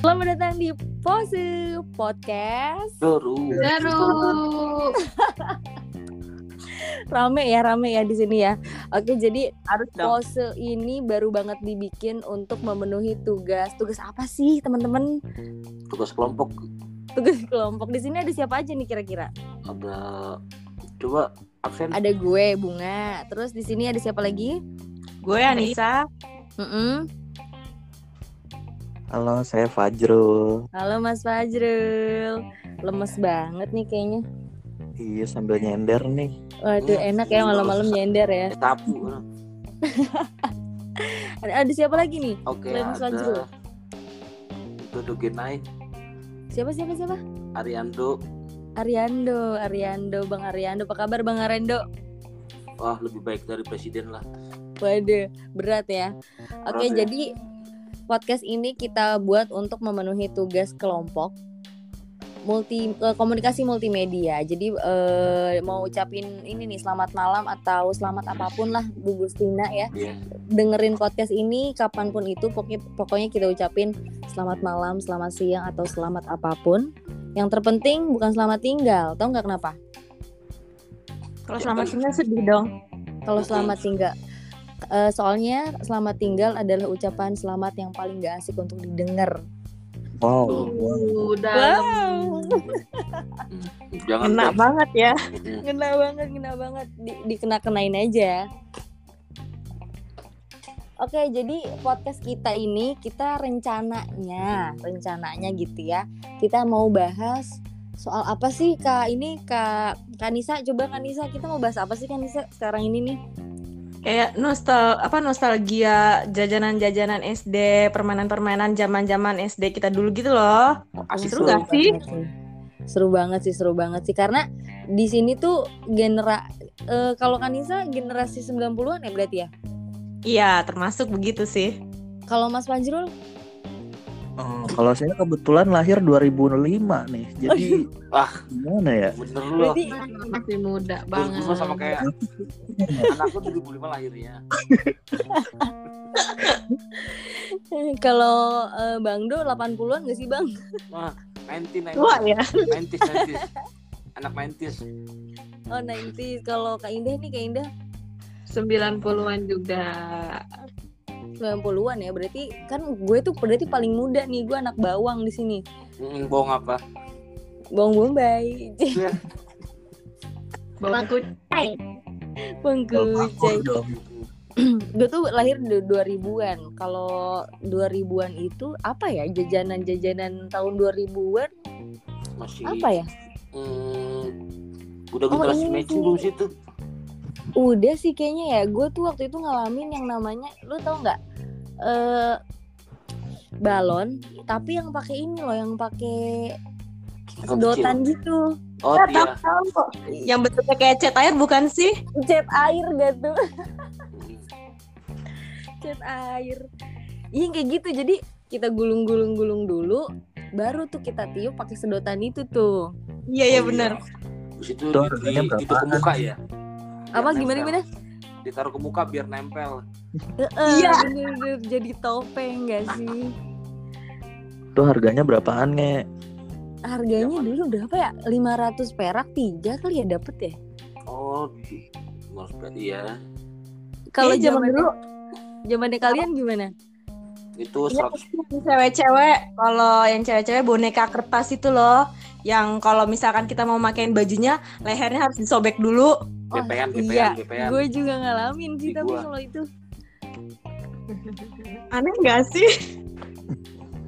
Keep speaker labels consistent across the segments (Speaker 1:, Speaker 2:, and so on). Speaker 1: selamat datang di Pose Podcast.
Speaker 2: Seru.
Speaker 1: Nah.
Speaker 3: Seru.
Speaker 1: Rame ya, rame ya di sini ya. Oke, jadi
Speaker 2: Harus dong.
Speaker 1: Pose ini baru banget dibikin untuk memenuhi tugas. Tugas apa sih, teman-teman?
Speaker 2: Tugas kelompok
Speaker 1: Tugas kelompok. Di sini ada siapa aja nih kira-kira?
Speaker 2: ada coba absen.
Speaker 1: Ada gue, Bunga. Terus di sini ada siapa lagi?
Speaker 4: Gue Anissa.
Speaker 1: Mm-mm.
Speaker 5: Halo, saya Fajrul.
Speaker 1: Halo Mas Fajrul. Lemes banget nih kayaknya.
Speaker 5: Iya, sambil nyender nih.
Speaker 1: Waduh,
Speaker 2: Hmm,
Speaker 1: enak ya malam-malam
Speaker 2: lemes.
Speaker 1: nyender ya.
Speaker 2: Eh, Sapu.
Speaker 1: Ada, ada siapa lagi nih?
Speaker 2: Oke,
Speaker 1: Lemus Fajrul.
Speaker 2: ada. Dudukin naik
Speaker 1: Siapa siapa siapa?
Speaker 2: Ariando.
Speaker 1: Ariando, Ariando, Bang Ariando. Apa kabar Bang Ariando?
Speaker 2: Wah, lebih baik dari presiden lah.
Speaker 1: Waduh, berat ya. Oke,
Speaker 2: Berat ya.
Speaker 1: jadi podcast ini kita buat untuk memenuhi tugas kelompok multi eh, komunikasi multimedia. Jadi eh, mau ucapin ini nih selamat malam atau selamat apapun lah Bu Gustina ya.
Speaker 2: Iya.
Speaker 1: Dengerin podcast ini kapanpun itu pokoknya, pokoknya kita ucapin selamat malam, selamat siang atau selamat apapun. Yang terpenting bukan selamat tinggal, tau nggak kenapa?
Speaker 4: Kalau selamat tinggal Iya, sedih dong.
Speaker 1: Kalau selamat tinggal Eh, soalnya selamat tinggal adalah ucapan selamat yang paling gak asik untuk didengar.
Speaker 5: Wow,
Speaker 4: Oh,
Speaker 5: wow.
Speaker 3: Udah.
Speaker 2: Jangan
Speaker 4: Enak
Speaker 2: dong.
Speaker 4: banget ya.
Speaker 2: Mm-mm.
Speaker 1: Ngena banget, ngena banget. Di- dikena-kenain aja. Oke, jadi podcast kita ini kita rencananya, rencananya gitu ya. Kita mau bahas soal apa sih Kak ini Kak Kanisa coba Kanisa kita mau bahas apa sih Kanisa sekarang ini nih?
Speaker 4: Kayak nostal apa nostalgia jajanan-jajanan SD, permainan-permainan zaman-zaman SD kita dulu gitu loh.
Speaker 2: Asik
Speaker 4: Seru
Speaker 2: tuh.
Speaker 4: gak sih?
Speaker 1: banget sih. Seru banget sih, seru banget sih karena di sini tuh genera eh, kalau Kanisa generasi 90-an ya berarti ya.
Speaker 4: Iya, termasuk begitu sih.
Speaker 1: Kalau Mas Fajrul
Speaker 5: Eh,
Speaker 2: Oh.
Speaker 5: kalau saya kebetulan lahir 2005 nih. Jadi
Speaker 2: Wah.
Speaker 5: gimana ya?
Speaker 2: Bener loh.
Speaker 1: berarti
Speaker 3: Masih muda banget.
Speaker 2: 2005 sama kayak anakku 75 lahirnya.
Speaker 1: kalau eh, Bang Do 80-an gak sih, Bang?
Speaker 2: 90
Speaker 4: Tua ya.
Speaker 2: 90 90. Anak 90
Speaker 1: Oh, 90. Kalau Kak Indah nih, Kak Indah
Speaker 3: 90-an juga.
Speaker 1: 90-an ya. Berarti kan gue tuh berarti paling muda nih. Gue anak bawang di sini.
Speaker 2: Mm, bohong apa?
Speaker 1: Bawang Bombay.
Speaker 3: Bawa kucing.
Speaker 1: Pengkucing.
Speaker 5: Dong.
Speaker 1: gue tuh lahir di 2000-an. Kalau 2000-an itu apa ya? Jajanan-jajanan tahun 2000-an
Speaker 2: Masih
Speaker 1: apa ya?
Speaker 2: Hmm, udah
Speaker 1: Oh,
Speaker 2: generasi
Speaker 1: ini
Speaker 2: matching
Speaker 1: sih.
Speaker 2: belum sih itu?
Speaker 1: Udah sih kayaknya ya. Gue tuh waktu itu ngalamin yang namanya, lu tau nggak? Eh balon, tapi yang pakai ini loh, yang pakai sedotan gitu.
Speaker 2: Oh iya.
Speaker 4: Yang bentuknya kayak cat air bukan sih?
Speaker 1: Cet air gak tuh? Iya, Cet air. Iya kayak gitu. Jadi kita gulung-gulung-gulung dulu, baru tuh kita tiup pakai sedotan itu tuh.
Speaker 4: Iya,
Speaker 6: Oh,
Speaker 4: iya benar.
Speaker 2: Oh, Terus itu
Speaker 5: Itu
Speaker 2: di-
Speaker 5: harganya berapaan?
Speaker 2: itu ke muka ya?
Speaker 1: Apa
Speaker 2: Biar
Speaker 1: gimana
Speaker 2: nempel.
Speaker 1: gimana?
Speaker 2: Ditaruh ke muka biar nempel.
Speaker 1: Iya. bener-bener jadi topeng gak sih?
Speaker 5: Itu harganya berapaan, Nge?
Speaker 1: Harganya dulu berapa ya? 500 perak tiga kali ya dapet ya?
Speaker 2: Oh, di Morsbet iya.
Speaker 1: Kalau
Speaker 4: Iya, zaman
Speaker 1: zaman
Speaker 4: dulu.
Speaker 1: dulu zamannya kalian gimana?
Speaker 2: Itu
Speaker 4: Iya,
Speaker 2: 100
Speaker 1: Oh,
Speaker 4: yang cewek-cewek kalau yang cewek-cewek boneka kertas itu loh yang kalau misalkan kita mau makain bajunya lehernya harus disobek dulu
Speaker 1: Oh,
Speaker 2: BPN, BPN,
Speaker 1: iya.
Speaker 2: BPN.
Speaker 1: Gue juga ngalamin sih
Speaker 2: Di
Speaker 1: tapi
Speaker 2: gua.
Speaker 1: kalau itu
Speaker 4: aneh nggak sih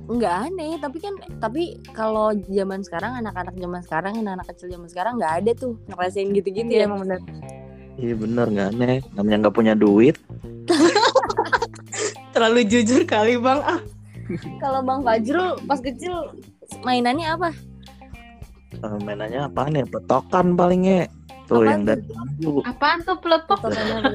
Speaker 1: nggak aneh tapi kan tapi kalau zaman sekarang anak-anak zaman sekarang anak-anak kecil zaman sekarang nggak ada tuh ngerasain gitu-gitu ya
Speaker 4: emang bener
Speaker 5: Iya bener nggak aneh. Namanya nggak punya duit.
Speaker 4: terlalu jujur kali bang ah
Speaker 1: kalau Bang Fajrul pas kecil mainannya apa?
Speaker 5: Eh, mainannya apaan ya? Petokan paling Nge. Tuh
Speaker 1: Apaan
Speaker 5: yang
Speaker 1: tuh?
Speaker 5: dari lampu.
Speaker 3: Apaan tuh peletok?
Speaker 1: Tontonnya apa?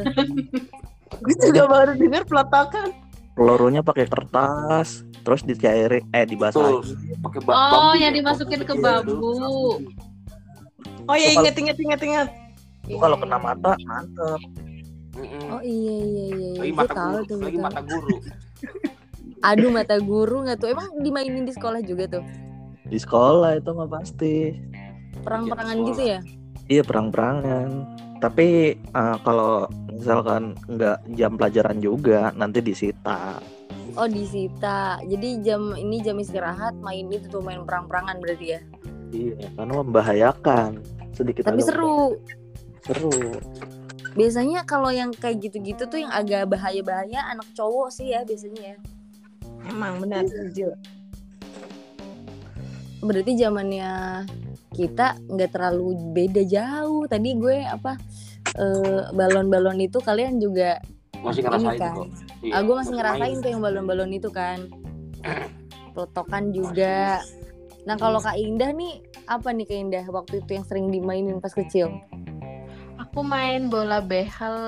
Speaker 4: gue juga baru dengar pelotokan
Speaker 5: Pelurunya pakai kertas. Terus dicairin, eh
Speaker 2: Betul.
Speaker 5: dibasahin.
Speaker 2: Pakai ba-
Speaker 3: Oh,
Speaker 2: bambu
Speaker 3: yang
Speaker 2: ya,
Speaker 3: dimasukin ke
Speaker 2: kecil
Speaker 3: bambu.
Speaker 2: itu.
Speaker 4: oh ya
Speaker 5: Soal-
Speaker 4: inget inget inget inget
Speaker 5: Itu kalau kena mata, mantep.
Speaker 2: Mm-mm.
Speaker 1: Oh iya iya iya.
Speaker 2: Lagi
Speaker 1: Gue
Speaker 2: mata
Speaker 1: tahu
Speaker 2: guru,
Speaker 1: tuh.
Speaker 2: lagi
Speaker 1: gue tahu.
Speaker 2: mata guru.
Speaker 1: Aduh mata guru nggak tuh. Emang dimainin di sekolah juga tuh.
Speaker 5: Di sekolah itu mah pasti.
Speaker 1: Perang-perangan
Speaker 2: sekolah.
Speaker 1: gitu ya.
Speaker 5: Iya perang-perangan. Tapi eh, kalau misalkan nggak jam pelajaran juga nanti disita.
Speaker 1: Oh disita. Jadi jam ini jam istirahat main itu tuh main perang-perangan berarti ya.
Speaker 5: Iya, karena membahayakan. Sedikit
Speaker 1: Tapi
Speaker 5: agak
Speaker 1: seru.
Speaker 5: Seru.
Speaker 1: Biasanya kalau yang kayak gitu-gitu tuh yang agak bahaya-bahaya anak cowok sih ya biasanya ya.
Speaker 4: Emang benar.
Speaker 1: berarti zamannya kita nggak terlalu beda jauh tadi gue apa eh, balon-balon itu kalian juga
Speaker 2: Masih ngerasain
Speaker 1: Ini kan.
Speaker 2: kok. Iya,
Speaker 1: ah, gue masih ngerasain
Speaker 2: main.
Speaker 1: tuh yang balon-balon itu kan pelotokan juga nah kalau kak Indah nih apa nih kak Indah waktu itu yang sering dimainin pas kecil
Speaker 3: Aku main bola behel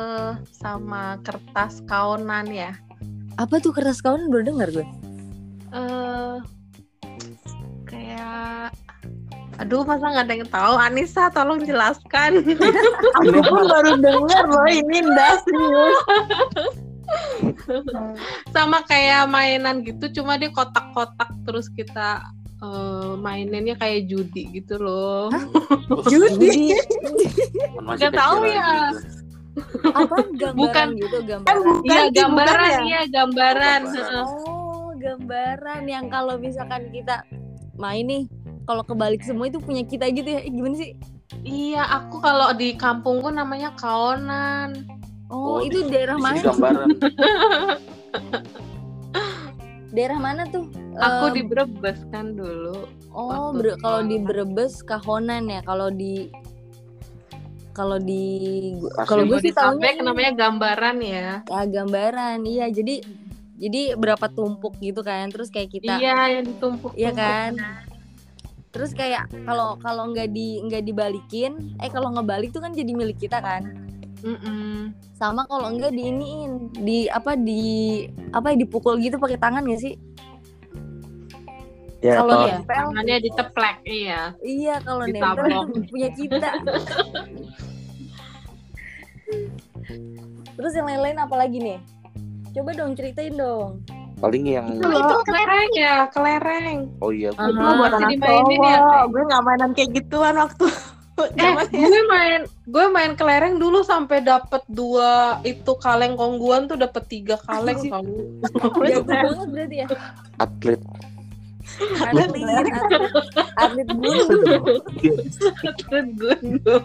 Speaker 3: sama kertas kaonan ya.
Speaker 1: apa tuh kertas kawan baru dengar gue
Speaker 3: Eh kayak Aduh, masa nggak ada yang tahu? Anissa, tolong jelaskan.
Speaker 4: Aku pun baru dengar loh ini ndas serius.
Speaker 3: sama kayak mainan gitu cuma dia kotak-kotak terus kita eh, mainannya kayak judi gitu loh
Speaker 4: Judi.
Speaker 2: Cuman masih
Speaker 3: Nggak tahu
Speaker 2: kecil
Speaker 3: ya.
Speaker 2: aja.
Speaker 1: apa gambaran
Speaker 3: Bukan.
Speaker 1: gitu gambaran
Speaker 4: Kan bukan
Speaker 3: iya
Speaker 4: sih, bukan
Speaker 3: gambaran
Speaker 4: ya?
Speaker 3: iya gambaran Heeh.
Speaker 1: Oh, gambaran yang kalau misalkan kita main nih, kalau kebalik semua itu punya kita gitu ya. Eh, gimana sih?
Speaker 3: iya aku kalau di kampungku namanya kaonan
Speaker 1: Oh,
Speaker 2: Oh,
Speaker 1: itu
Speaker 3: iya.
Speaker 1: daerah
Speaker 2: Di
Speaker 1: mana?
Speaker 2: sini gambaran.
Speaker 1: Daerah mana tuh?
Speaker 3: aku
Speaker 1: Eh,
Speaker 3: di Brebes kan dulu
Speaker 1: Oh,
Speaker 3: waktu
Speaker 1: bre- kalau di
Speaker 3: sekolah.
Speaker 1: Brebes Kahonan ya, kalau di kalau di gu-
Speaker 2: Pasti.
Speaker 1: kalau gue sih
Speaker 3: sampai
Speaker 1: tahunya
Speaker 3: kan namanya gambaran ya
Speaker 1: ya, gambaran. Iya, jadi jadi berapa tumpuk gitu kan. Terus kayak kita
Speaker 3: iya yang ditumpuk
Speaker 1: Iya kan? Terus kayak kalau kalau nggak di nggak dibalikin, eh kalau ngebalik tuh kan jadi milik kita kan. sama kalau enggak diiniin di apa di apa ya, dipukul gitu pakai tangan gak sih
Speaker 5: Ya,
Speaker 1: kalau
Speaker 5: kalau
Speaker 1: ya
Speaker 3: tangannya diteplek iya
Speaker 1: iya kalau
Speaker 3: Ditabok.
Speaker 1: nempel itu punya kita terus yang lain-lain apa lagi nih coba dong ceritain dong
Speaker 2: Paling yang
Speaker 1: Nah,
Speaker 3: itu kelereng ya kelereng
Speaker 2: oh iya gua-
Speaker 4: Gue buat
Speaker 3: Masih
Speaker 4: anak
Speaker 3: dimainin ya?
Speaker 4: cowok. Gue nggak mainan kayak gituan waktu.
Speaker 3: Eh,
Speaker 4: zaman ya.
Speaker 3: gue main gue main kelereng dulu sampai dapet dua itu kaleng kongguan tuh dapet tiga kaleng Iya, kan? kamu.
Speaker 1: jago banget berarti ya
Speaker 2: atlet
Speaker 1: atlet atlet, atlet bulu
Speaker 3: Terus gue dulu.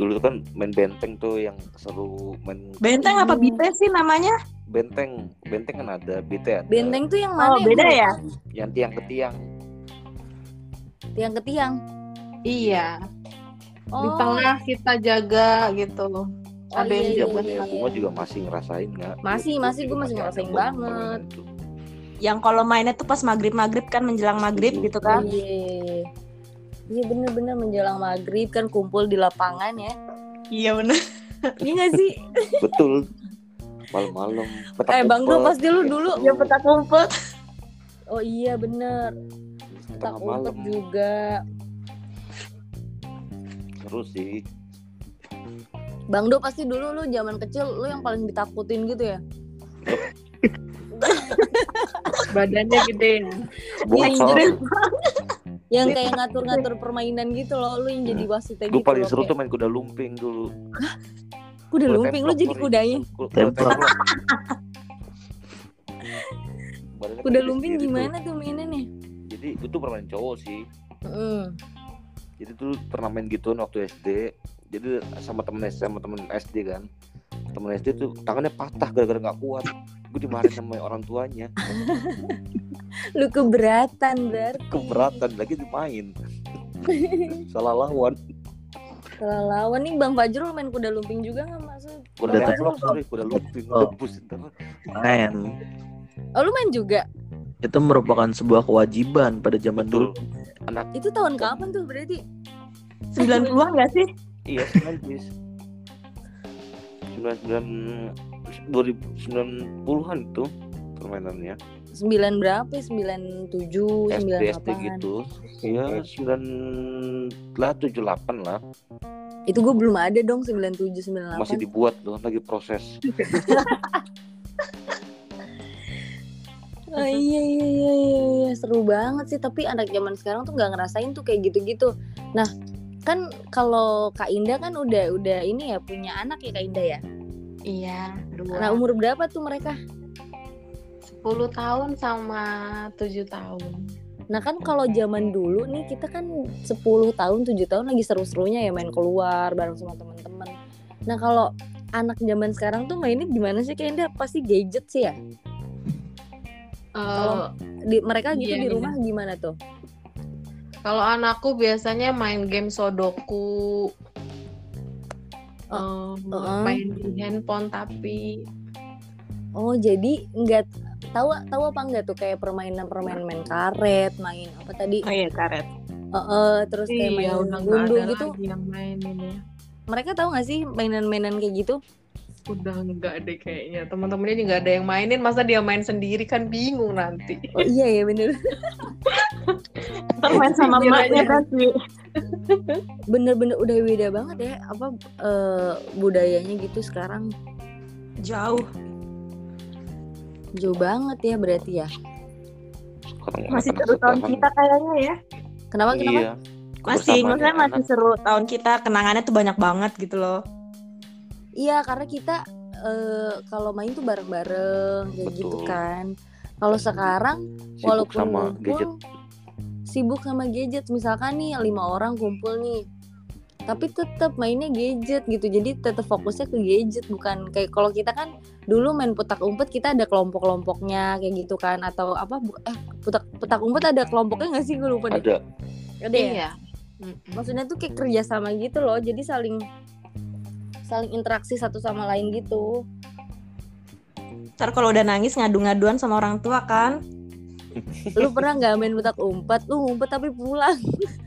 Speaker 2: dulu kan main benteng tuh yang seru main
Speaker 4: Benteng apa bite sih namanya?
Speaker 2: benteng benteng kan ada BT ada
Speaker 1: benteng tuh yang mana
Speaker 4: Oh beda ya.
Speaker 2: yang tiang ke tiang
Speaker 1: yang ke tiang
Speaker 3: Iya, di
Speaker 1: oh
Speaker 3: tengah kita jaga gitu.
Speaker 1: Oh,
Speaker 3: Ada yang
Speaker 1: iya,
Speaker 2: ya
Speaker 3: jaga.
Speaker 1: iya.
Speaker 2: bener bunga juga masih ngerasain nggak
Speaker 1: Masih, masih, gua masih ngerasain banget.
Speaker 2: gitu.
Speaker 4: Yang kalau mainnya tuh pas maghrib maghrib kan menjelang maghrib gitu kan.
Speaker 1: iya iya bener-bener menjelang maghrib kan kumpul di lapangan ya
Speaker 4: Iya benar.
Speaker 1: iya gak sih
Speaker 2: betul malam-malam petak
Speaker 1: Eh Bang Bro
Speaker 2: umpet,
Speaker 1: pasti lu dulu
Speaker 2: Iya.
Speaker 4: Ya peta kumpul.
Speaker 1: Oh iya bener
Speaker 2: tengah
Speaker 1: Tak
Speaker 2: malam
Speaker 1: umpet juga
Speaker 2: seru sih
Speaker 1: Bang Do pasti dulu lu zaman kecil lu yang paling ditakutin gitu ya
Speaker 3: Badannya gede ya.
Speaker 1: Iya,
Speaker 2: bongsor Iya.
Speaker 1: Yang kayak ngatur-ngatur permainan gitu loh Lu yang jadi wasitnya
Speaker 2: gue
Speaker 1: gitu
Speaker 2: Iya. paling
Speaker 1: loh,
Speaker 2: seru
Speaker 1: kayak,
Speaker 2: tuh main kuda lumping dulu
Speaker 1: Kuda
Speaker 2: Kuda
Speaker 1: lumping lu
Speaker 2: templok,
Speaker 1: jadi
Speaker 2: sorry.
Speaker 1: kudanya
Speaker 2: Ku- kuda
Speaker 5: Templok.
Speaker 2: templok. Badannya
Speaker 1: Kuda
Speaker 2: gede
Speaker 1: lumping
Speaker 2: sendiri tuh.
Speaker 1: gimana tuh mainannya
Speaker 2: jadi itu permainan cowok sih
Speaker 1: Heeh.
Speaker 2: jadi dulu pernah main gituan waktu SD jadi sama temen SD sama temen SD kan temen SD tuh tangannya patah gara-gara nggak kuat gue dimarahin sama orang tuanya
Speaker 1: Lu keberatan berarti
Speaker 2: keberatan lagi dimain salah lawan
Speaker 1: Kalau lawan nih Bang Fajrul main kuda lumping juga gak maksud
Speaker 2: kuda
Speaker 5: Udah
Speaker 2: templok
Speaker 5: tembok.
Speaker 2: sorry kuda lumping
Speaker 5: Oh.
Speaker 2: Buset, apa?
Speaker 5: main
Speaker 1: Oh lu main juga
Speaker 5: itu merupakan sebuah kewajiban pada zaman
Speaker 2: betul
Speaker 5: dulu.
Speaker 1: Itu tahun kapan tuh berarti
Speaker 4: 90-an gak sih?
Speaker 2: iya sembilan bis sembilan sembilan dua ribu sembilan puluhan tuh permainannya
Speaker 1: 9 berapa? 97,
Speaker 2: Eh, SD
Speaker 1: 98
Speaker 2: SD gitu ya sembilan lah tujuh delapan lah
Speaker 1: Itu gue belum ada dong 97, 98
Speaker 2: masih dibuat loh lagi proses
Speaker 1: Oh, iya, iya iya iya iya. seru banget sih tapi anak zaman sekarang tuh nggak ngerasain tuh kayak gitu-gitu. Nah kan kalau Kak Indah kan udah udah ini ya punya anak ya Kak Indah ya.
Speaker 3: Iya,
Speaker 1: Nah
Speaker 3: dua.
Speaker 1: umur berapa tuh mereka?
Speaker 3: 10 tahun sama 7 tahun.
Speaker 1: Nah kan kalau zaman dulu nih kita kan 10 tahun 7 tahun lagi seru-serunya ya main keluar bareng sama teman-teman. Nah kalau anak zaman sekarang tuh mainnya gimana sih kayaknya pasti gadget sih ya.
Speaker 3: Eh,
Speaker 1: Di, mereka gitu
Speaker 3: Iya,
Speaker 1: di
Speaker 3: iya.
Speaker 1: rumah gimana tuh?
Speaker 3: kalau anakku biasanya main game Sudoku.
Speaker 1: Oh,
Speaker 3: Eh,
Speaker 1: oh.
Speaker 3: main di handphone tapi
Speaker 1: Oh jadi nggak tahu tahu apa nggak tuh kayak permainan-permainan main karet, main apa tadi?
Speaker 4: Oh iya karet.
Speaker 1: Eh, eh, terus kayak main
Speaker 3: Iya, udah nggak
Speaker 1: gundu
Speaker 3: ada
Speaker 1: gitu.
Speaker 3: lagi yang ya. main ini.
Speaker 1: Mereka tahu nggak sih mainan-mainan kayak gitu?
Speaker 3: Udah nggak ada kayaknya. Teman-temannya juga nggak ada yang mainin. Masa dia main sendiri kan bingung nanti.
Speaker 1: Oh iya ya bener.
Speaker 4: Ntar main sama
Speaker 3: Iya,
Speaker 4: emaknya
Speaker 3: iya.
Speaker 4: kan sih.
Speaker 1: Bener-bener udah beda banget ya apa eh, budayanya gitu sekarang
Speaker 4: Jauh.
Speaker 1: jauh banget ya berarti ya.
Speaker 3: Iya.
Speaker 2: Orang-
Speaker 4: Masih
Speaker 2: orang-
Speaker 4: seru tahun
Speaker 2: orang-
Speaker 4: kita kayaknya ya.
Speaker 1: Kenapa kenapa?
Speaker 2: Iya.
Speaker 4: Masih,
Speaker 2: Kebersamaan
Speaker 4: maksudnya
Speaker 2: anak.
Speaker 4: masih seru tahun kita. Kenangannya tuh banyak banget gitu loh.
Speaker 1: Iya karena kita eh, kalau main tuh bareng-bareng kayak
Speaker 2: Betul. gitu.
Speaker 1: gitu kan. Kalau sekarang
Speaker 2: Sibuk
Speaker 1: walaupun
Speaker 2: sama
Speaker 1: ngumpul,
Speaker 2: gadget.
Speaker 1: sibuk sama gadget misalkan nih lima orang kumpul nih tapi tetap mainnya gadget gitu jadi tetap fokusnya ke gadget bukan kayak kalau kita kan dulu main putak umpet kita ada kelompok-kelompoknya kayak gitu kan atau apa bu- eh putak putak umpet ada kelompoknya nggak sih gue lupa deh
Speaker 2: Ada
Speaker 1: ada
Speaker 3: Iya.
Speaker 1: ya?
Speaker 3: Mm-mm.
Speaker 1: maksudnya tuh kayak kerjasama gitu loh jadi saling saling interaksi satu sama lain gitu
Speaker 4: Ntar kalau udah nangis ngadu-ngaduan sama orang tua kan.
Speaker 1: lu pernah nggak main putak umpet lu ngumpet tapi pulang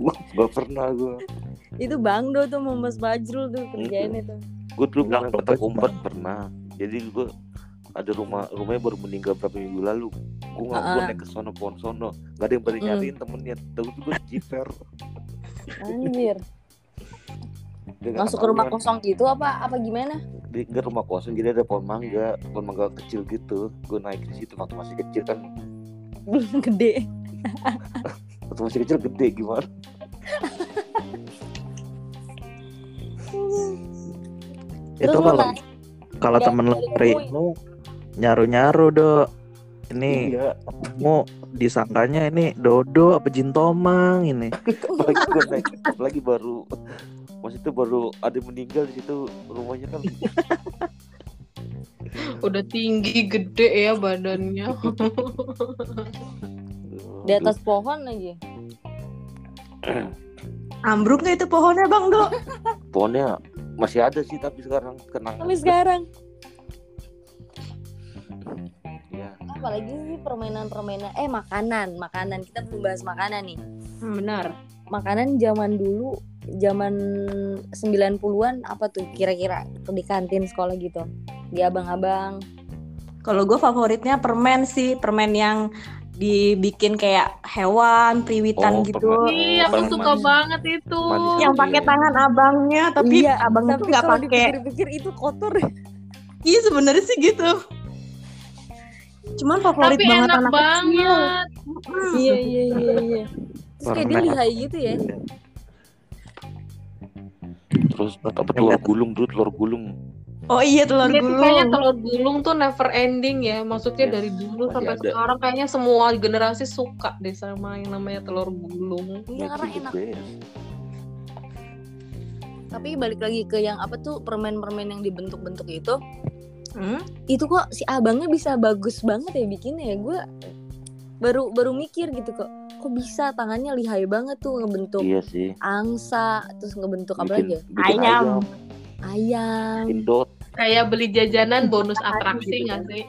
Speaker 2: Wah, gak pernah gue.
Speaker 1: itu bang do tuh mau mas Fajrul tuh kerjaannya tuh
Speaker 2: Gue dulu
Speaker 5: Bilang
Speaker 2: pernah
Speaker 5: ke
Speaker 2: petak
Speaker 5: Bang.
Speaker 2: umpet pernah. Jadi gue ada rumah rumahnya baru meninggal berapa minggu lalu. Gue nggak gue
Speaker 1: Ah.
Speaker 2: naik ke sono pohon sono. Gak ada yang pada
Speaker 1: Mm-mm.
Speaker 2: nyariin temennya. Tahu tuh gue jiper.
Speaker 1: anjir
Speaker 2: Dia nggak
Speaker 1: masuk ke rumah
Speaker 2: ketahuan.
Speaker 1: kosong gitu apa apa gimana
Speaker 2: Dia nggak rumah kosong. Jadi ada pohon mangga, pohon mangga kecil gitu. Gue naik di situ waktu masih kecil kan.
Speaker 1: belum gede
Speaker 2: Waktu masih kecil gede gimana?
Speaker 5: itu
Speaker 1: lu
Speaker 5: kalau
Speaker 1: naik.
Speaker 5: kalau
Speaker 1: Nggak
Speaker 5: temen lu
Speaker 1: boleh
Speaker 5: nyari
Speaker 1: nemuin.
Speaker 5: lu nyaru nyaru dok ini
Speaker 2: Iya.
Speaker 5: mau disangkanya ini dodo apa jin tomang ini
Speaker 2: Apalagi gue naik. Apalagi baru. Maksudnya itu baru ada yang meninggal di situ rumahnya kan
Speaker 3: Udah tinggi gede ya badannya.
Speaker 1: di atas pohon lagi
Speaker 4: Ambruk nggak itu pohonnya bang dok?
Speaker 2: pohonnya masih ada sih tapi sekarang kenang
Speaker 1: tapi sekarang
Speaker 2: ya
Speaker 1: apalagi sih permainan-permainan eh makanan makanan kita belum bahas makanan nih Hmm,
Speaker 4: Benar.
Speaker 1: makanan zaman dulu zaman 90-an apa tuh kira-kira di kantin sekolah gitu di abang-abang
Speaker 4: Kalau gue favoritnya permen sih, permen yang dibikin kayak hewan, priwitan
Speaker 2: Oh,
Speaker 4: gitu.
Speaker 2: permen.
Speaker 3: Iya, aku
Speaker 2: Paling
Speaker 3: suka
Speaker 2: manis.
Speaker 3: banget itu.
Speaker 2: Manis.
Speaker 4: Yang pakai
Speaker 2: Iya.
Speaker 4: tangan abangnya, tapi
Speaker 1: Iya,
Speaker 4: abang itu
Speaker 1: tapi
Speaker 4: nggak
Speaker 1: kalau
Speaker 4: pakai.
Speaker 1: dipikir-pikir itu kotor
Speaker 4: Iya sebenarnya sih gitu. Cuman favorit
Speaker 3: Tapi
Speaker 4: banget
Speaker 3: enak
Speaker 4: anak kecil.
Speaker 3: banget.
Speaker 4: Hmm.
Speaker 1: iya iya iya iya terus kayak dia
Speaker 5: Warna.
Speaker 1: lihai gitu ya
Speaker 2: terus
Speaker 1: Iya.
Speaker 2: apa
Speaker 4: Iya.
Speaker 2: telur gulung dulu telur gulung
Speaker 4: Oh iya telur
Speaker 3: Iya, tuh Kayaknya
Speaker 4: gulung.
Speaker 3: telur gulung tuh never ending ya. Maksudnya
Speaker 2: Iya.
Speaker 3: dari dulu
Speaker 2: Masih
Speaker 3: sampai
Speaker 2: ada.
Speaker 3: sekarang kayaknya semua generasi suka deh sama yang namanya telur gulung.
Speaker 1: iya karena
Speaker 2: Magic
Speaker 1: enak
Speaker 2: the best.
Speaker 1: tapi balik lagi ke yang apa tuh permen-permen yang dibentuk-bentuk itu
Speaker 4: Hmm?
Speaker 1: itu kok si abangnya bisa bagus banget ya bikinnya ya gue baru baru mikir gitu kok kok bisa tangannya lihai banget tuh ngebentuk
Speaker 2: iya sih
Speaker 1: angsa terus ngebentuk apa
Speaker 2: bikin,
Speaker 1: lagi ya?
Speaker 2: bikin
Speaker 4: Ayam.
Speaker 2: ayam
Speaker 1: ayam
Speaker 2: indot
Speaker 3: Kayak beli jajanan bonus
Speaker 2: gitu
Speaker 3: atraksi
Speaker 2: kan.
Speaker 3: nggak sih?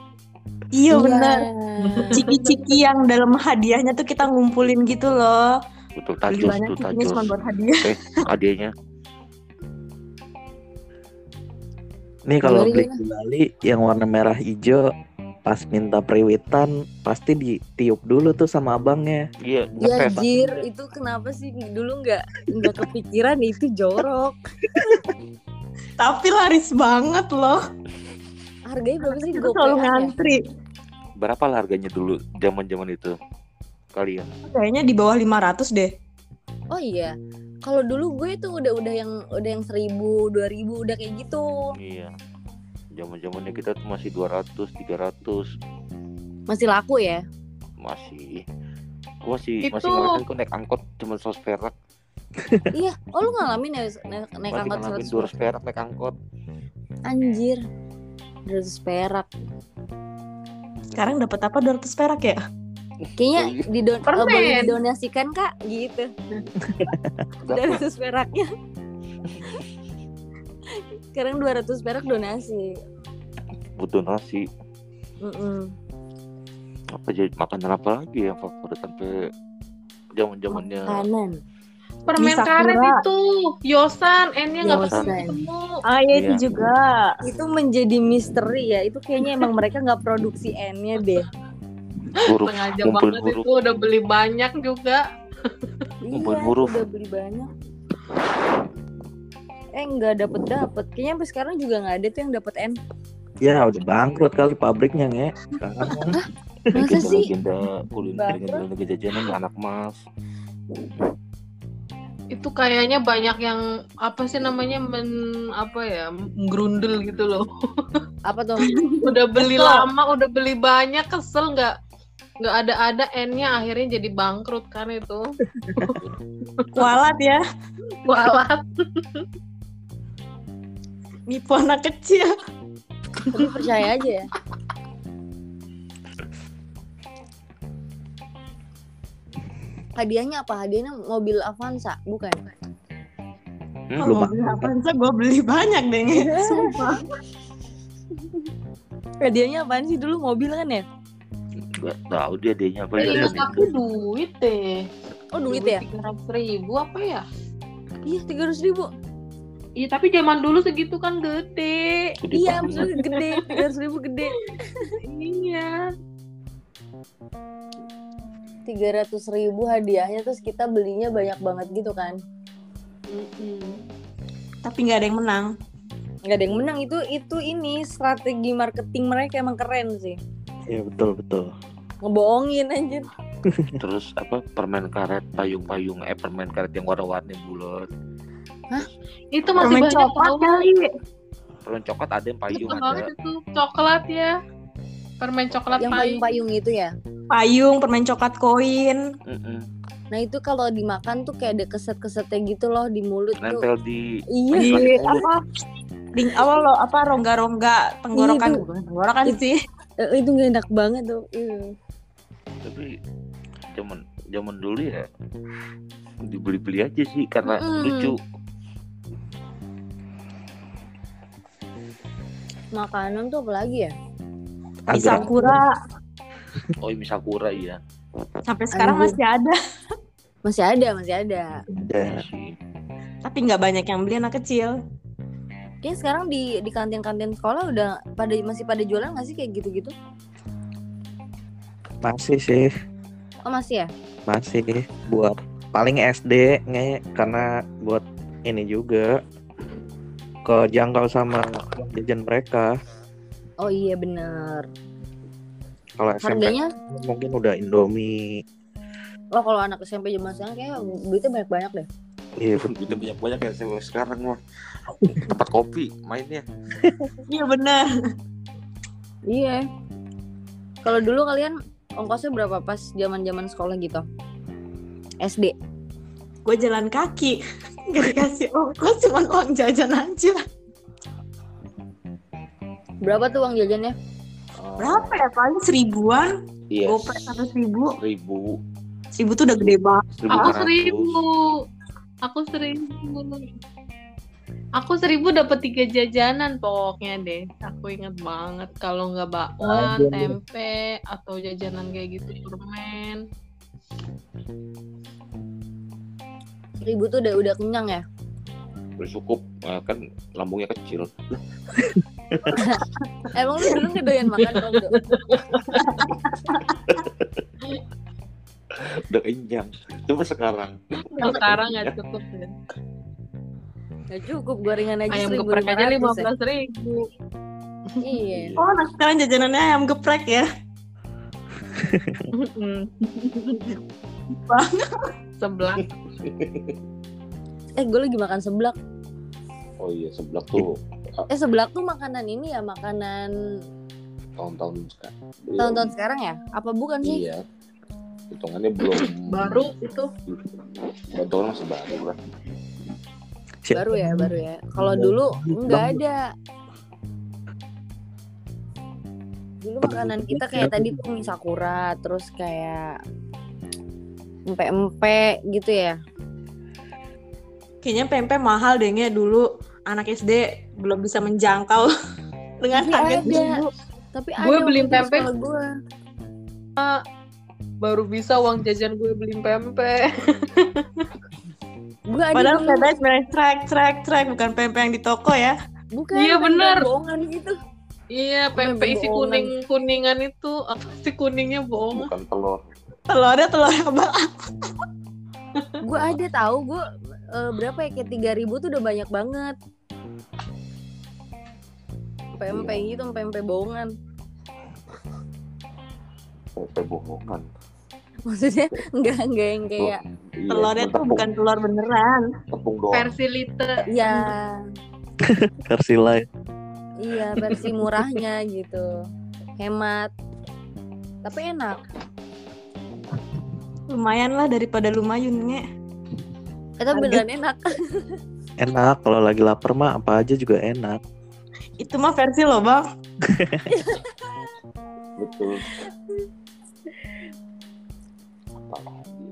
Speaker 4: Iya benar.
Speaker 1: Iya.
Speaker 4: Ciki-ciki yang dalam hadiahnya tuh kita ngumpulin gitu loh.
Speaker 2: betul
Speaker 4: Beli
Speaker 2: tajos
Speaker 4: banyak
Speaker 2: tuh
Speaker 4: cikinya
Speaker 2: tajos
Speaker 4: cuma buat hadiah.
Speaker 2: eh adanya
Speaker 5: nih kalau
Speaker 1: Gimana,
Speaker 5: beli gulali yang warna merah hijau pas minta periwitan pasti ditiup dulu tuh sama abangnya
Speaker 2: iya
Speaker 1: Ya
Speaker 2: ngetes
Speaker 1: jir, itu kenapa sih dulu nggak nggak kepikiran itu jorok.
Speaker 4: Tapi laris banget loh.
Speaker 1: harganya berapa sih
Speaker 4: Itu selalu
Speaker 1: gopean ya?
Speaker 4: ngantri.
Speaker 2: Berapa lah harganya dulu zaman-zaman itu? Kalian.
Speaker 4: Kayaknya di bawah 500 deh.
Speaker 1: Oh iya. Kalau dulu gue tuh udah udah yang udah yang seribu, dua ribu udah kayak gitu.
Speaker 2: Iya. Zaman-zamannya kita tuh masih 200, 300
Speaker 1: Masih laku ya?
Speaker 2: masih gua masih
Speaker 3: Itu-
Speaker 2: masih
Speaker 1: Gitu.
Speaker 2: ngalamin kok naik angkot cuma 100 perak
Speaker 1: iya. Oh lu ngalamin ya naik, naik
Speaker 2: masih
Speaker 1: angkot
Speaker 2: ngalamin
Speaker 1: 100
Speaker 2: 200 perak naik angkot
Speaker 1: Anjir. 200 perak.
Speaker 4: Sekarang dapat apa 200 perak ya?
Speaker 1: Kayaknya
Speaker 2: Oh, iya.
Speaker 1: didon eh,
Speaker 3: Permen.
Speaker 1: boleh didonasikan Kak gitu.
Speaker 2: Dapet.
Speaker 1: 200 peraknya. Sekarang 200 perak donasi.
Speaker 2: butuh nasi
Speaker 1: Mm-mm.
Speaker 2: apa jadi makanan apa lagi yang favorit sampai zaman zamannya
Speaker 1: Kanan.
Speaker 3: Permen
Speaker 4: Sakura.
Speaker 3: karet itu, Yosan, N-nya nggak
Speaker 2: Yosan.
Speaker 3: pernah ketemu.
Speaker 4: Ah
Speaker 2: iya, itu Iya.
Speaker 4: juga.
Speaker 1: Itu menjadi misteri ya. Itu kayaknya emang mereka nggak produksi N-nya deh.
Speaker 2: huruf
Speaker 3: Sengaja
Speaker 2: ngumpulin
Speaker 3: banget
Speaker 2: huruf
Speaker 3: itu udah beli banyak juga.
Speaker 2: Ngumpulin
Speaker 1: Iya,
Speaker 2: huruf.
Speaker 1: udah beli banyak. Eh nggak dapet dapet. Kayaknya sampai sekarang juga nggak ada tuh yang dapet N.
Speaker 5: Ya udah bangkrut kali pabriknya nge. Sekarang.
Speaker 1: Masa
Speaker 2: legenda
Speaker 1: sih?
Speaker 2: legenda kuliner legenda legenda jajanan anak mas
Speaker 3: Itu kayaknya banyak yang apa sih namanya men apa ya gerundel gitu loh.
Speaker 1: Apa tuh?
Speaker 3: Udah beli
Speaker 4: Kesel.
Speaker 3: lama, udah beli banyak, kesel nggak nggak ada-ada N-nya akhirnya jadi bangkrut kan itu.
Speaker 4: Kualat ya.
Speaker 3: Walah,
Speaker 4: Nipu anak kecil.
Speaker 1: Tapi percaya aja ya. Hadiahnya apa? Hadiahnya mobil Avanza, bukan?
Speaker 5: Belum
Speaker 4: Kalau beli Avanza gue beli banyak deh. Nge. Sumpah.
Speaker 1: Hadiahnya apaan sih dulu mobil kan ya?
Speaker 2: nggak tahu dia
Speaker 5: Iya,
Speaker 2: adanya apa ya
Speaker 3: ingat
Speaker 2: zaman itu.
Speaker 3: aku duit deh.
Speaker 1: Oh duit ya?
Speaker 3: Tiga ribu apa ya?
Speaker 1: Iya tiga ratus ribu.
Speaker 3: Iya tapi zaman dulu segitu kan gede.
Speaker 2: Gede
Speaker 1: Iya
Speaker 2: banget.
Speaker 1: maksudnya gede tiga ratus ribu gede.
Speaker 3: Iya.
Speaker 1: Tiga ratus ribu hadiahnya terus kita belinya banyak banget gitu kan?
Speaker 4: Tapi nggak ada yang menang.
Speaker 1: Gak ada yang menang itu itu ini strategi marketing mereka emang keren sih.
Speaker 5: Iya betul betul.
Speaker 1: Ngebohongin anjir.
Speaker 2: terus apa permen karet payung-payung eh permen karet yang warna-warni bulat
Speaker 3: Itu masih
Speaker 4: Permen
Speaker 3: banyak
Speaker 4: coklat
Speaker 3: tau.
Speaker 4: kali.
Speaker 2: permen coklat ada yang payung
Speaker 3: Betul banget
Speaker 2: Iya, ada
Speaker 3: itu coklat ya. Permen coklat
Speaker 1: Yang
Speaker 3: payung.
Speaker 1: payung-payung itu ya.
Speaker 4: Payung, permen coklat koin.
Speaker 2: Mm-mm.
Speaker 1: Nah itu kalau dimakan tuh kayak ada keset-kesetnya gitu loh di mulut tuh.
Speaker 2: nempel di
Speaker 1: Iya.
Speaker 4: Di apa? Ding awal lo apa rongga-rongga tenggorokan
Speaker 1: Iya, itu.
Speaker 4: Bukan tenggorokan sih
Speaker 1: Eh, itu gak enak banget tuh. Iya.
Speaker 2: tapi zaman zaman dulu ya dibeli-beli aja sih karena
Speaker 1: Mm-mm.
Speaker 2: lucu
Speaker 1: Makanan tuh apa lagi ya?
Speaker 4: di
Speaker 5: Agak
Speaker 4: Sakura
Speaker 2: oh ini sakura ya
Speaker 4: sampai sekarang
Speaker 1: Anjir.
Speaker 4: masih ada
Speaker 1: Masih ada, masih ada.
Speaker 5: ada.
Speaker 2: sih
Speaker 4: tapi nggak banyak yang beli anak kecil
Speaker 1: Kayaknya sekarang di di kantin-kantin sekolah udah pada masih pada jualan gak sih kayak gitu-gitu?
Speaker 5: Masih sih
Speaker 1: Oh masih ya?
Speaker 5: masih buat paling SD nge karena buat ini juga kejangkau sama jajan mereka.
Speaker 1: Oh iya bener.
Speaker 5: Kalau SMP
Speaker 1: Harganya
Speaker 5: mungkin udah Indomie.
Speaker 1: lo kalau anak SMP zaman sekarang kayak duitnya banyak-banyak deh.
Speaker 5: Iya betul.
Speaker 2: udah banyak banyak ya sewa sekarang mah tempat kopi mainnya
Speaker 4: iya benar
Speaker 1: Iya. Kalau dulu kalian ongkosnya berapa pas zaman-zaman sekolah gitu? SD.
Speaker 4: gue jalan kaki gak dikasih ongkos cuman uang jajan aja
Speaker 1: Berapa tuh uang jajannya?
Speaker 4: berapa ya paling seribuan
Speaker 2: iya
Speaker 4: gopek satu ribu
Speaker 2: seribu
Speaker 4: seribu tuh udah gede banget
Speaker 2: seribu
Speaker 3: Aku
Speaker 2: lima ratus.
Speaker 3: seribu. Aku seribu. Aku seribu dapat tiga jajanan pokoknya deh. Aku inget banget kalau nggak bakwan, tempe, atau jajanan kayak gitu permen.
Speaker 1: Ribu tuh udah udah kenyang ya.
Speaker 2: Udah cukup Nah, kan lambungnya kecil
Speaker 1: Emang lu dulu ngedoyan makan dong? Dok?
Speaker 2: udah kenyang cuma sekarang
Speaker 3: Kalau sekarang nggak cukup ya.
Speaker 1: Gak cukup gorengan aja
Speaker 3: Ayam
Speaker 1: seribu
Speaker 3: geprek aja lima
Speaker 1: ya.
Speaker 3: belas ribu.
Speaker 1: Iya.
Speaker 4: Oh, nah sekarang jajanannya ayam geprek ya.
Speaker 3: Sebelah.
Speaker 1: Eh gue lagi makan seblak.
Speaker 2: Oh iya seblak tuh
Speaker 1: Eh seblak tuh makanan ini ya makanan
Speaker 2: tahun-tahun sekarang. belum.
Speaker 1: tahun-tahun sekarang ya? Apa bukan sih?
Speaker 2: Iya. Hitungannya belum.
Speaker 3: Baru itu
Speaker 2: Bantuan masih baru lah.
Speaker 1: Baru ya, baru ya. Kalau dulu nggak ada. Dulu makanan kita kayak tadi tuh mie sakura, terus kayak empe-empe gitu ya.
Speaker 4: Kayaknya pempek mahal deh Nge. dulu anak SD belum bisa menjangkau dengan
Speaker 1: Tapi
Speaker 4: harga
Speaker 1: ada.
Speaker 3: Iya.
Speaker 4: segitu.
Speaker 1: Tapi
Speaker 3: Gue
Speaker 1: ada waktu
Speaker 3: beli
Speaker 1: itu di
Speaker 3: pempek.
Speaker 1: sekolah Gue.
Speaker 3: baru bisa uang jajan gue beli pempek.
Speaker 1: Gue ada
Speaker 4: Padahal
Speaker 1: dulu.
Speaker 4: pempek sebenarnya trek trek trek bukan pempek yang di toko ya.
Speaker 1: Bukan.
Speaker 3: Iya,
Speaker 1: pempek
Speaker 3: bener.
Speaker 1: Bohongan gitu.
Speaker 3: Iya, pempek isi kuning kuningan itu apa sih kuningnya bohong?
Speaker 2: Bukan telur.
Speaker 4: Telurnya telur apa?
Speaker 1: Gue ada tahu. Gue eh, berapa ya? Kayak tiga ribu tuh udah banyak banget. Pempek gitu, pempek bohongan.
Speaker 2: Pepe bohongan.
Speaker 1: Maksudnya nggak nggak yang kayak
Speaker 2: Iya,
Speaker 4: Telurnya tuh
Speaker 2: tepung-
Speaker 4: bukan telur beneran.
Speaker 2: tepung doang.
Speaker 3: Versi liter.
Speaker 1: ya
Speaker 5: versi lain
Speaker 1: iya versi murahnya gitu hemat tapi enak
Speaker 4: Lumayan lah daripada lumayan Nge.
Speaker 1: Eh, tapi beneran enak
Speaker 5: enak kalau lagi lapar mah apa aja juga enak
Speaker 4: Itu mah versi loh bang.
Speaker 2: Betul. Apa lagi?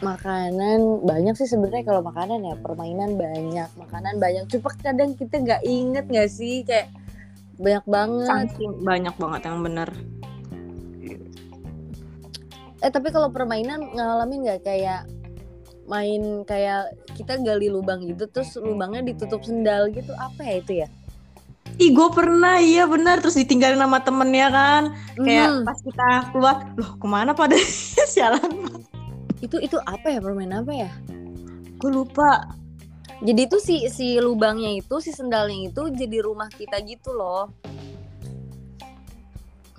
Speaker 1: makanan banyak sih sebenarnya kalau makanan ya permainan banyak makanan banyak cuma kadang kita nggak inget nggak sih kayak banyak banget
Speaker 4: Saking banyak banget yang bener.
Speaker 1: eh tapi kalau permainan ngalamin nggak kayak main kayak kita gali lubang gitu terus lubangnya ditutup sendal gitu apa ya itu ya
Speaker 4: Ih gue pernah iya bener terus ditinggalin sama temennya kan. Kayak
Speaker 1: Mhm.
Speaker 4: pas kita keluar loh kemana pada sialan.
Speaker 1: itu itu apa ya permainan apa ya
Speaker 4: Gue lupa.
Speaker 1: Jadi itu si si lubangnya itu si sendalnya itu jadi rumah kita gitu loh.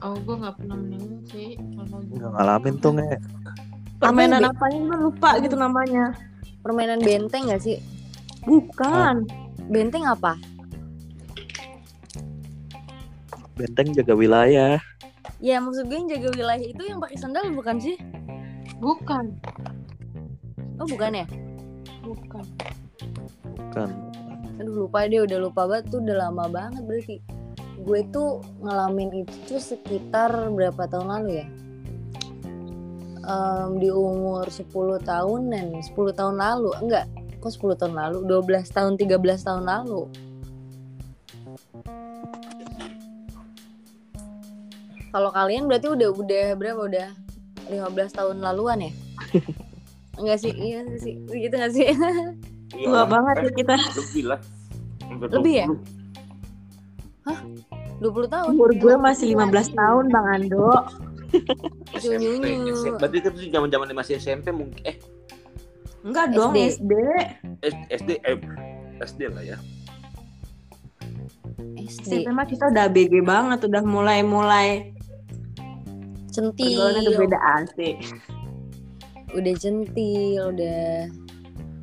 Speaker 3: Oh, gue nggak pernah menang sih. Kalau
Speaker 5: nggak ngalamin tuh nge
Speaker 4: Permainan
Speaker 1: Permainan
Speaker 4: apanya gue lupa gitu namanya.
Speaker 1: Permainan benteng gak sih?
Speaker 4: Bukan.
Speaker 2: Oh,
Speaker 1: Benteng apa?
Speaker 5: benteng jaga wilayah
Speaker 1: Ya maksud gue yang jaga wilayah itu yang pakai sendal bukan sih?
Speaker 3: Bukan,
Speaker 1: Oh bukan ya?
Speaker 3: bukan.
Speaker 5: kan
Speaker 1: Aduh lupa deh udah lupa banget tuh udah lama banget berarti. Gue tuh ngalamin itu tuh sekitar berapa tahun lalu ya? Em, di umur 10 tahunan, 10 tahun lalu enggak? Kok 10 tahun lalu? 12 tahun, 13 tahun lalu. Kalau kalian berarti udah udah berapa udah 15 tahun laluan ya? Enggak sih, iya nggak sih. Gitu enggak sih?
Speaker 4: Tua
Speaker 2: Iyalah,
Speaker 4: banget
Speaker 2: eh,
Speaker 4: ya kita.
Speaker 2: Lebih lah. Hampir
Speaker 1: Lebih ya?
Speaker 2: 20.
Speaker 1: 20 tahun.
Speaker 4: Umur gue masih 15 tahun Bang Ando.
Speaker 1: Junyu.
Speaker 2: SMP. Berarti kan itu zaman-zaman masih SMP mungkin eh
Speaker 4: Enggak
Speaker 1: SD.
Speaker 4: dong SD.
Speaker 2: S- SD eh, SD lah ya.
Speaker 1: SD.
Speaker 4: SMP mah kita udah BG banget, udah mulai-mulai
Speaker 1: centil
Speaker 4: pergaulannya udah beda asik.
Speaker 1: udah centil udah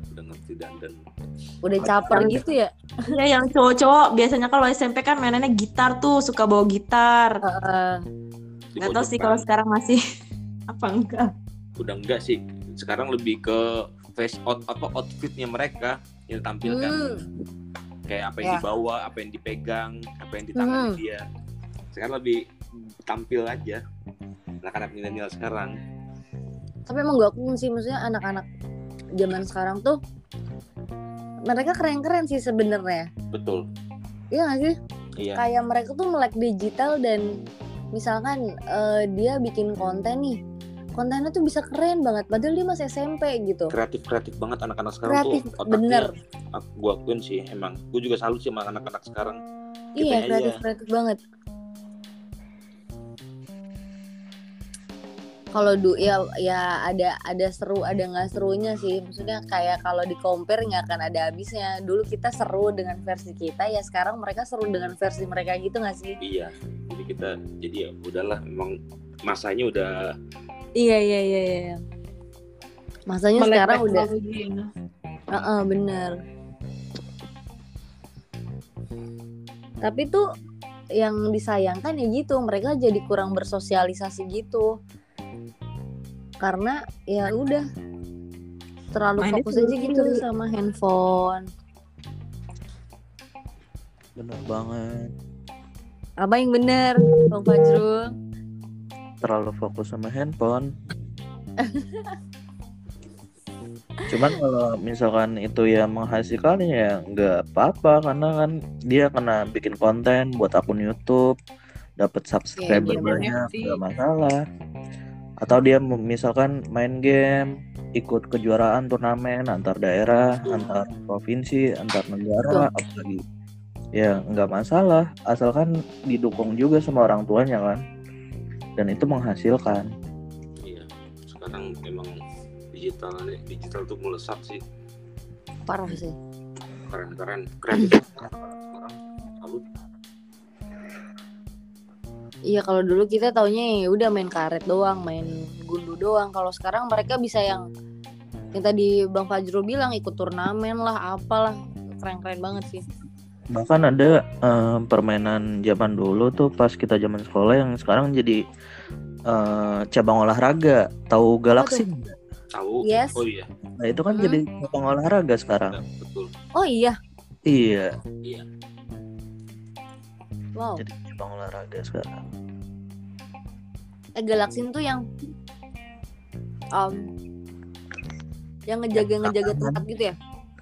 Speaker 2: Udah ngerti dandan.
Speaker 1: udah caper
Speaker 2: Pacaran
Speaker 1: gitu ya
Speaker 4: Iya yang cowok-cowok biasanya kalau SMP kan mainannya gitar tuh, suka bawa gitar.
Speaker 1: Heeh.
Speaker 2: Di
Speaker 4: Gak tau sih
Speaker 2: pojokan.
Speaker 4: kalau sekarang masih apa enggak.
Speaker 2: udah enggak sih. Sekarang lebih ke face out apa outfitnya mereka yang ditampilkan.
Speaker 1: Hmm.
Speaker 2: kayak apa
Speaker 1: Ya.
Speaker 2: yang dibawa, apa yang dipegang, apa yang di tangan
Speaker 1: Hmm.
Speaker 2: dia. Sekarang lebih tampil aja. Anak-anak milenial sekarang
Speaker 1: tapi emang gue akuin sih maksudnya anak-anak zaman sekarang tuh mereka keren-keren sih sebenarnya
Speaker 2: betul.
Speaker 1: iya gak sih
Speaker 2: Iya.
Speaker 1: kayak mereka tuh melek digital dan misalkan eh, dia bikin konten nih kontennya tuh bisa keren banget padahal dia masih SMP gitu
Speaker 2: Kreatif kreatif banget anak-anak sekarang
Speaker 1: kreatif
Speaker 2: tuh. Otaknya,
Speaker 1: bener
Speaker 2: ak- Gua akuin sih emang. Gua juga salut sih sama anak-anak sekarang.
Speaker 6: Gitu
Speaker 1: iya
Speaker 6: ya,
Speaker 2: kitanya
Speaker 1: kreatif kreatif banget kalau du ya ya ada ada seru ada nggak serunya sih maksudnya kayak kalau di compare nggak akan ada habisnya dulu kita seru dengan versi kita ya sekarang mereka seru dengan versi mereka gitu nggak sih
Speaker 6: Iya. Jadi kita jadi ya udahlah memang masanya udah
Speaker 1: iya iya iya, iya. masanya
Speaker 3: Melek
Speaker 1: Iya, sekarang udah
Speaker 3: teknologi ya.
Speaker 1: Heeh, bener. Tapi tuh yang disayangkan ya gitu, mereka jadi kurang bersosialisasi gitu. Karena ya udah terlalu
Speaker 4: Mainnya
Speaker 1: fokus aja
Speaker 4: sendiri.
Speaker 1: gitu sama handphone.
Speaker 5: bener banget
Speaker 1: Apa yang bener, Bang Fajrul?
Speaker 5: terlalu fokus sama handphone cuman kalau misalkan itu ya menghasilkan ya nggak apa-apa karena kan dia kena bikin konten buat akun YouTube dapat subscriber
Speaker 3: iya,
Speaker 5: banyak
Speaker 3: sih.
Speaker 5: nggak masalah atau dia mem- misalkan main game ikut kejuaraan turnamen antar daerah
Speaker 3: Hmm.
Speaker 5: antar provinsi antar negara apalagi ya nggak masalah asalkan didukung juga sama orang tuanya kan dan itu menghasilkan
Speaker 6: iya. Sekarang emang digital digital tuh melesat sih.
Speaker 1: Parah sih.
Speaker 6: Keren-keren. Kreatif. Orang salut.
Speaker 1: Iya kalau dulu kita taunya ya udah main karet doang, main gundu doang. Kalau sekarang mereka bisa yang yang tadi Bang Fajrul bilang ikut turnamen lah, apalah keren-keren banget sih.
Speaker 5: bahkan ada eh, permainan zaman dulu tuh pas kita zaman sekolah yang sekarang jadi eh, cabang olahraga tahu galaksi nggak?
Speaker 6: Tahu.
Speaker 1: Yes.
Speaker 6: Oh iya.
Speaker 5: nah itu
Speaker 1: Hmm.
Speaker 5: kan jadi cabang olahraga
Speaker 6: Nah,
Speaker 5: sekarang
Speaker 6: betul.
Speaker 1: Oh iya,
Speaker 5: iya
Speaker 1: wow.
Speaker 5: jadi cabang olahraga sekarang
Speaker 1: Eh Galaxin tuh yang um, yang ngejaga ngejaga tempat gitu ya.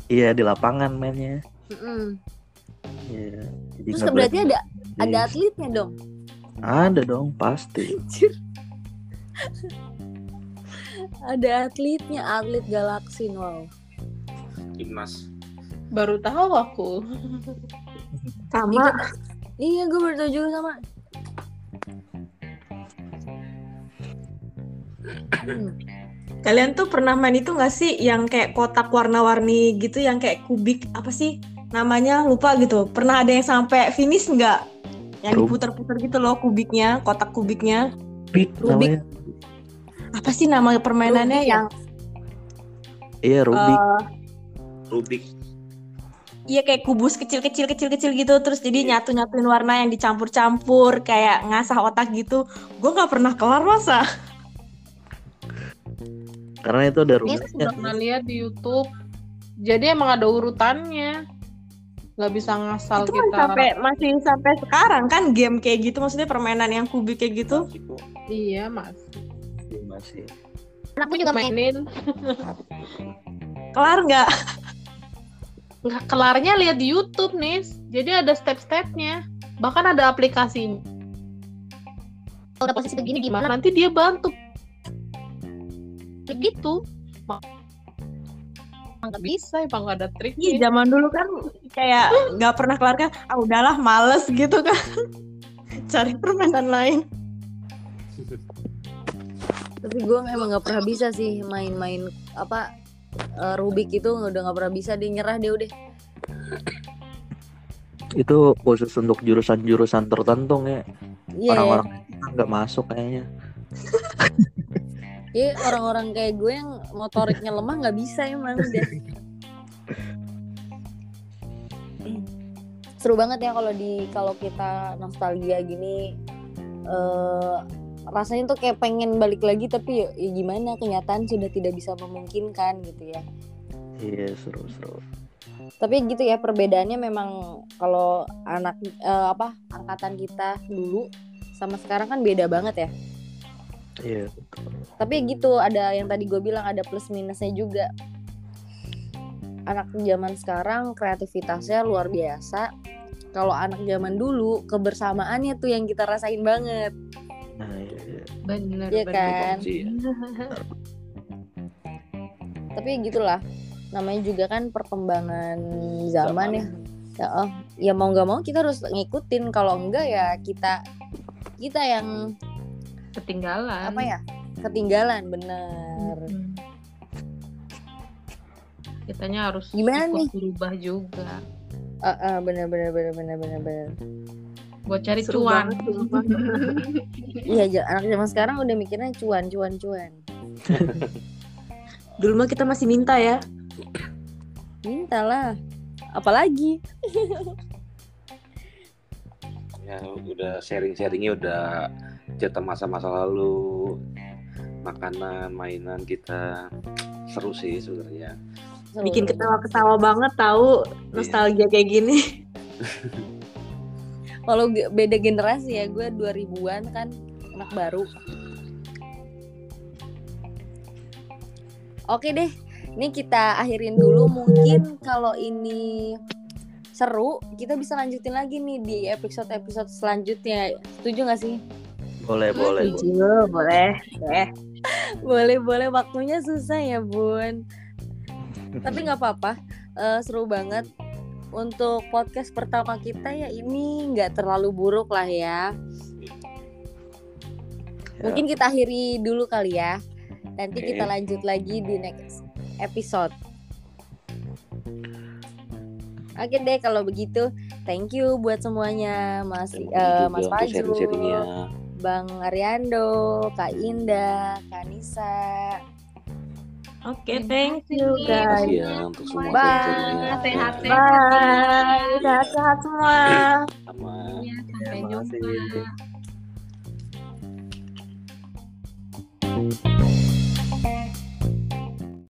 Speaker 5: iya di lapangan mainnya
Speaker 1: Mm-mm.
Speaker 5: iya jadi
Speaker 1: Terus
Speaker 5: nggak
Speaker 1: berarti
Speaker 5: boleh-
Speaker 1: ada ada atletnya dong.
Speaker 5: ada dong pasti
Speaker 1: Ada atletnya, atlet Galaxin wow.
Speaker 6: Timnas.
Speaker 3: Baru tahu aku.
Speaker 4: Sama.
Speaker 1: Iya, gue baru tau juga sama. Hmm.
Speaker 4: Kalian tuh pernah main itu nggak sih yang kayak kotak warna-warni gitu yang kayak kubik apa sih namanya lupa gitu. Pernah ada yang sampai finish nggak? Yang
Speaker 5: Rub-
Speaker 4: diputer-puter gitu loh kubiknya, kotak kubiknya.
Speaker 5: rubik namanya
Speaker 4: Apa sih nama permainannya
Speaker 1: Rubik
Speaker 4: yang
Speaker 5: iya
Speaker 1: Oh.
Speaker 5: rubik
Speaker 4: eh,
Speaker 6: Rubik.
Speaker 4: Iya kayak kubus kecil-kecil kecil-kecil gitu terus jadi nyatu-nyatuin warna yang dicampur-campur kayak ngasah otak gitu. Gue nggak pernah kelar masa.
Speaker 5: karena itu ada
Speaker 3: Ini
Speaker 5: rubiknya
Speaker 3: sudah pernah lihat di YouTube. Jadi emang ada urutannya. Nggak bisa
Speaker 1: kan
Speaker 3: ngasal
Speaker 4: itu
Speaker 3: kita.
Speaker 4: masih sampai masih sampai sekarang kan game kayak gitu maksudnya permainan yang kubik kayak gitu.
Speaker 6: Masih kok.
Speaker 3: Iya mas.
Speaker 5: masih
Speaker 1: Aku juga main.
Speaker 3: Mainin.
Speaker 4: Kelar nggak?
Speaker 3: Nggak kelarnya lihat di YouTube nih. Jadi ada step-stepnya. Bahkan ada aplikasinya. Nah,
Speaker 1: Kalau posisi begini gimana?
Speaker 3: Nanti dia bantu. Begitu. Nggak bisa emang nggak ada
Speaker 4: Iya
Speaker 3: triknya.
Speaker 4: zaman dulu kan kayak nggak pernah kelar kan. Ah udahlah males gitu kan. Cari permainan lain.
Speaker 1: Tapi gue emang nggak pernah bisa sih main-main apa eh, Rubik itu udah nggak pernah bisa dia nyerah dia udah.
Speaker 5: itu khusus untuk jurusan-jurusan tertentu ya
Speaker 1: Iya.
Speaker 5: orang-orang nggak masuk kayaknya
Speaker 1: Iya, orang-orang kayak gue yang motoriknya lemah nggak bisa emang udah. Seru banget ya kalau di kalau kita nostalgia gini eh rasanya tuh kayak pengen balik lagi tapi ya, ya gimana kenyataan sudah tidak bisa memungkinkan gitu ya.
Speaker 5: iya seru-seru
Speaker 1: Tapi gitu ya perbedaannya memang kalau anak eh, apa angkatan kita dulu sama sekarang kan beda banget ya.
Speaker 5: iya
Speaker 1: tapi gitu ada yang tadi gue bilang ada plus minusnya juga anak zaman sekarang kreativitasnya luar biasa kalau anak zaman dulu kebersamaannya tuh yang kita rasain banget
Speaker 5: Nah, iya, iya.
Speaker 3: Bener,
Speaker 1: Iya
Speaker 3: bener.
Speaker 1: kan?
Speaker 6: Sih, ya.
Speaker 1: tapi gitulah namanya juga kan perkembangan zaman ya ya, oh. ya mau nggak mau kita harus ngikutin kalau enggak ya kita kita yang
Speaker 3: Ketinggalan.
Speaker 1: apa ya ketinggalan bener
Speaker 3: Hmm. Kitanya harus
Speaker 1: Gimana
Speaker 3: ikut
Speaker 1: nih?
Speaker 3: berubah juga
Speaker 1: Eh, eh, bener bener bener bener bener bener
Speaker 3: buat cari
Speaker 4: Seru
Speaker 3: cuan.
Speaker 4: banget, seru banget.
Speaker 1: iya ja- anak zaman sekarang udah mikirnya cuan cuan cuan
Speaker 4: Dulu mah kita masih minta ya.
Speaker 1: mintalah apalagi
Speaker 6: ya udah sharing-sharingnya udah cerita masa-masa lalu makanan mainan kita seru sih sebenarnya
Speaker 1: Seru.
Speaker 4: Bikin ketawa-ketawa banget tahu nostalgia kayak gini.
Speaker 1: kalau ge- beda generasi ya gue 2000-an kan anak baru oke deh ini kita akhirin dulu mungkin kalau ini seru kita bisa lanjutin lagi nih di episode episode selanjutnya setuju gak sih
Speaker 5: Boleh, boleh. boleh.
Speaker 4: boleh.
Speaker 1: boleh boleh waktunya susah ya bun tapi nggak apa-apa Eh, seru banget untuk podcast pertama kita ya ini nggak terlalu buruk lah ya mungkin kita akhiri dulu kali ya nanti
Speaker 2: Ya. Oke.
Speaker 1: kita lanjut lagi di next episode oke deh kalau begitu thank you buat semuanya mas
Speaker 2: Terima
Speaker 1: eh,
Speaker 2: kasih
Speaker 1: mas
Speaker 2: juga untuk sharing-sharingnya.
Speaker 1: Fajrul bang Ariando kak Indah kak Nisa
Speaker 4: Oke, thank you
Speaker 2: Terima
Speaker 4: guys.
Speaker 2: kasih ya untuk semua
Speaker 1: Bye.
Speaker 2: sharing-sharingnya.
Speaker 3: Sehat-sehat.
Speaker 4: Bye. Sehat-sehat semua.
Speaker 2: Sama
Speaker 3: Iya,
Speaker 5: Ya,
Speaker 3: sampai
Speaker 5: makasih.
Speaker 3: jumpa.